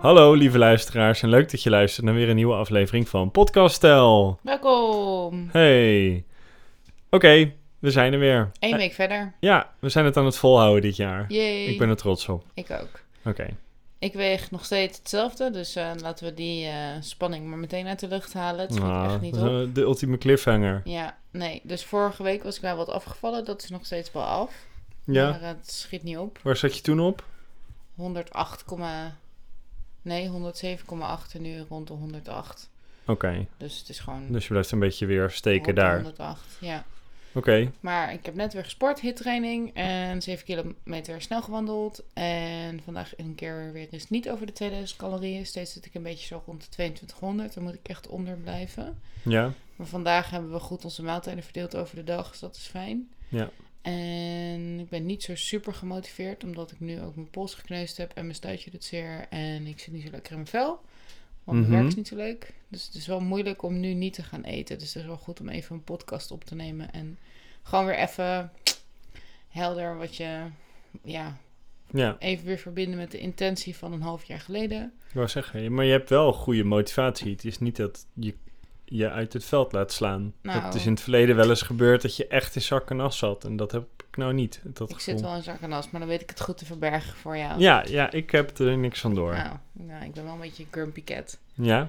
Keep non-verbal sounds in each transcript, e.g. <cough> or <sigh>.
Hallo lieve luisteraars en leuk dat je luistert naar weer een nieuwe aflevering van Podcast Stel. Welkom. Hey. Oké, we zijn er weer. Eén Eh, week verder. Ja, we zijn het aan het volhouden dit jaar. Yay. Ik ben er trots op. Ik ook. Oké. Ik weeg nog steeds hetzelfde, dus eh, laten we die eh, spanning maar meteen uit de lucht halen. Het schiet Nou, echt niet op. de, de ultieme cliffhanger. Ja, nee. Dus vorige week was ik wel wat afgevallen. Dat is nog steeds wel af. Ja. Maar het schiet niet op. Waar zat je toen op? 108, komma- nee, 107,8 en nu rond de 108. Oké, Dus het is gewoon dus je blijft een beetje weer rond de steken daar. Oké. 108. Ja. Maar ik heb net weer gesport, hittraining en 7 kilometer snel gewandeld. En vandaag een keer weer eens niet over de 2000 calorieën. Steeds zit ik een beetje zo rond de 2200. Dan moet ik echt onder blijven. Ja. Maar vandaag hebben we goed onze maaltijden verdeeld over de dag, dus dat is fijn. Ja. En ik ben niet zo super gemotiveerd, omdat ik nu ook mijn pols gekneusd heb en mijn stuitje doet zeer. En ik zit niet zo lekker in mijn vel, want mijn Mhm. werk is niet zo leuk. Dus het is wel moeilijk om nu niet te gaan eten. Dus het is wel goed om even een podcast op te nemen en gewoon weer even helder wat je, ja, Ja, even weer verbinden met de intentie van een half jaar geleden. ik wou zeggen, maar je hebt wel goede motivatie. Het is niet dat je je uit het veld laat slaan. Nou. Het is in het verleden wel eens gebeurd dat je echt in zak en as zat. En dat heb ik nou niet, dat Ik gevoel. zit wel in zak en as, maar dan weet ik het goed te verbergen voor jou. Ja, ja, ik heb er niks van door. Ja. Nou, nou, ik ben wel een beetje een grumpy cat. Ja,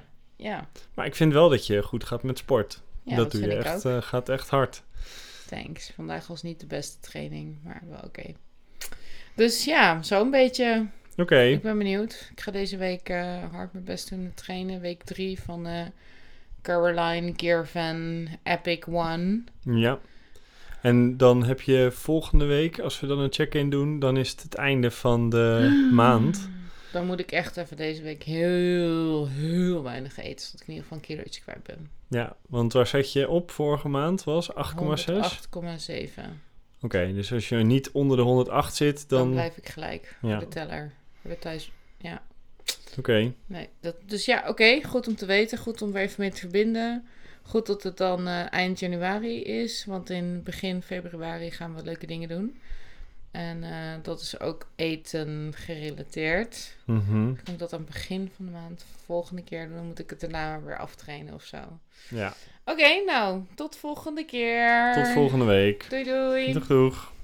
maar ik vind wel dat je goed gaat met sport. ja dat dat, doe vind je ik echt, ook. eh, gaat echt hard. Thanks. Vandaag was niet de beste training, maar wel oké. Dus ja, zo'n beetje. Oké, Ik ben benieuwd. Ik ga deze week eh, hard mijn best doen met trainen. Week 3 van eh, Caroline Caravan Epic One. ja. En dan heb je volgende week, als we dan een check-in doen, dan is het het einde van de <gasps> maand. Dan moet ik echt even deze week heel, heel weinig eten. Zodat ik in ieder geval een kilootje kwijt ben. Ja, want waar zet je op vorige maand was 8,6? Oké, 8,7. Dan, dus als je niet onder de 108 zit, dan... Oké, blijf ik gelijk. Ja. Voor de teller. Voor de thuis. Nee, dat, dus ja, oké, goed om te weten, goed om weer even mee te verbinden. Goed dat het dan eh, eind januari is, want in begin februari gaan we leuke dingen doen. En eh, dat is ook eten gerelateerd. mhm, Ik moet dat aan het begin van de maand volgende keer doen, dan moet ik het daarna weer aftrainen of zo. Oké, ja. nou, tot volgende keer. Tot volgende week. Doei doei. Doeg, doeg.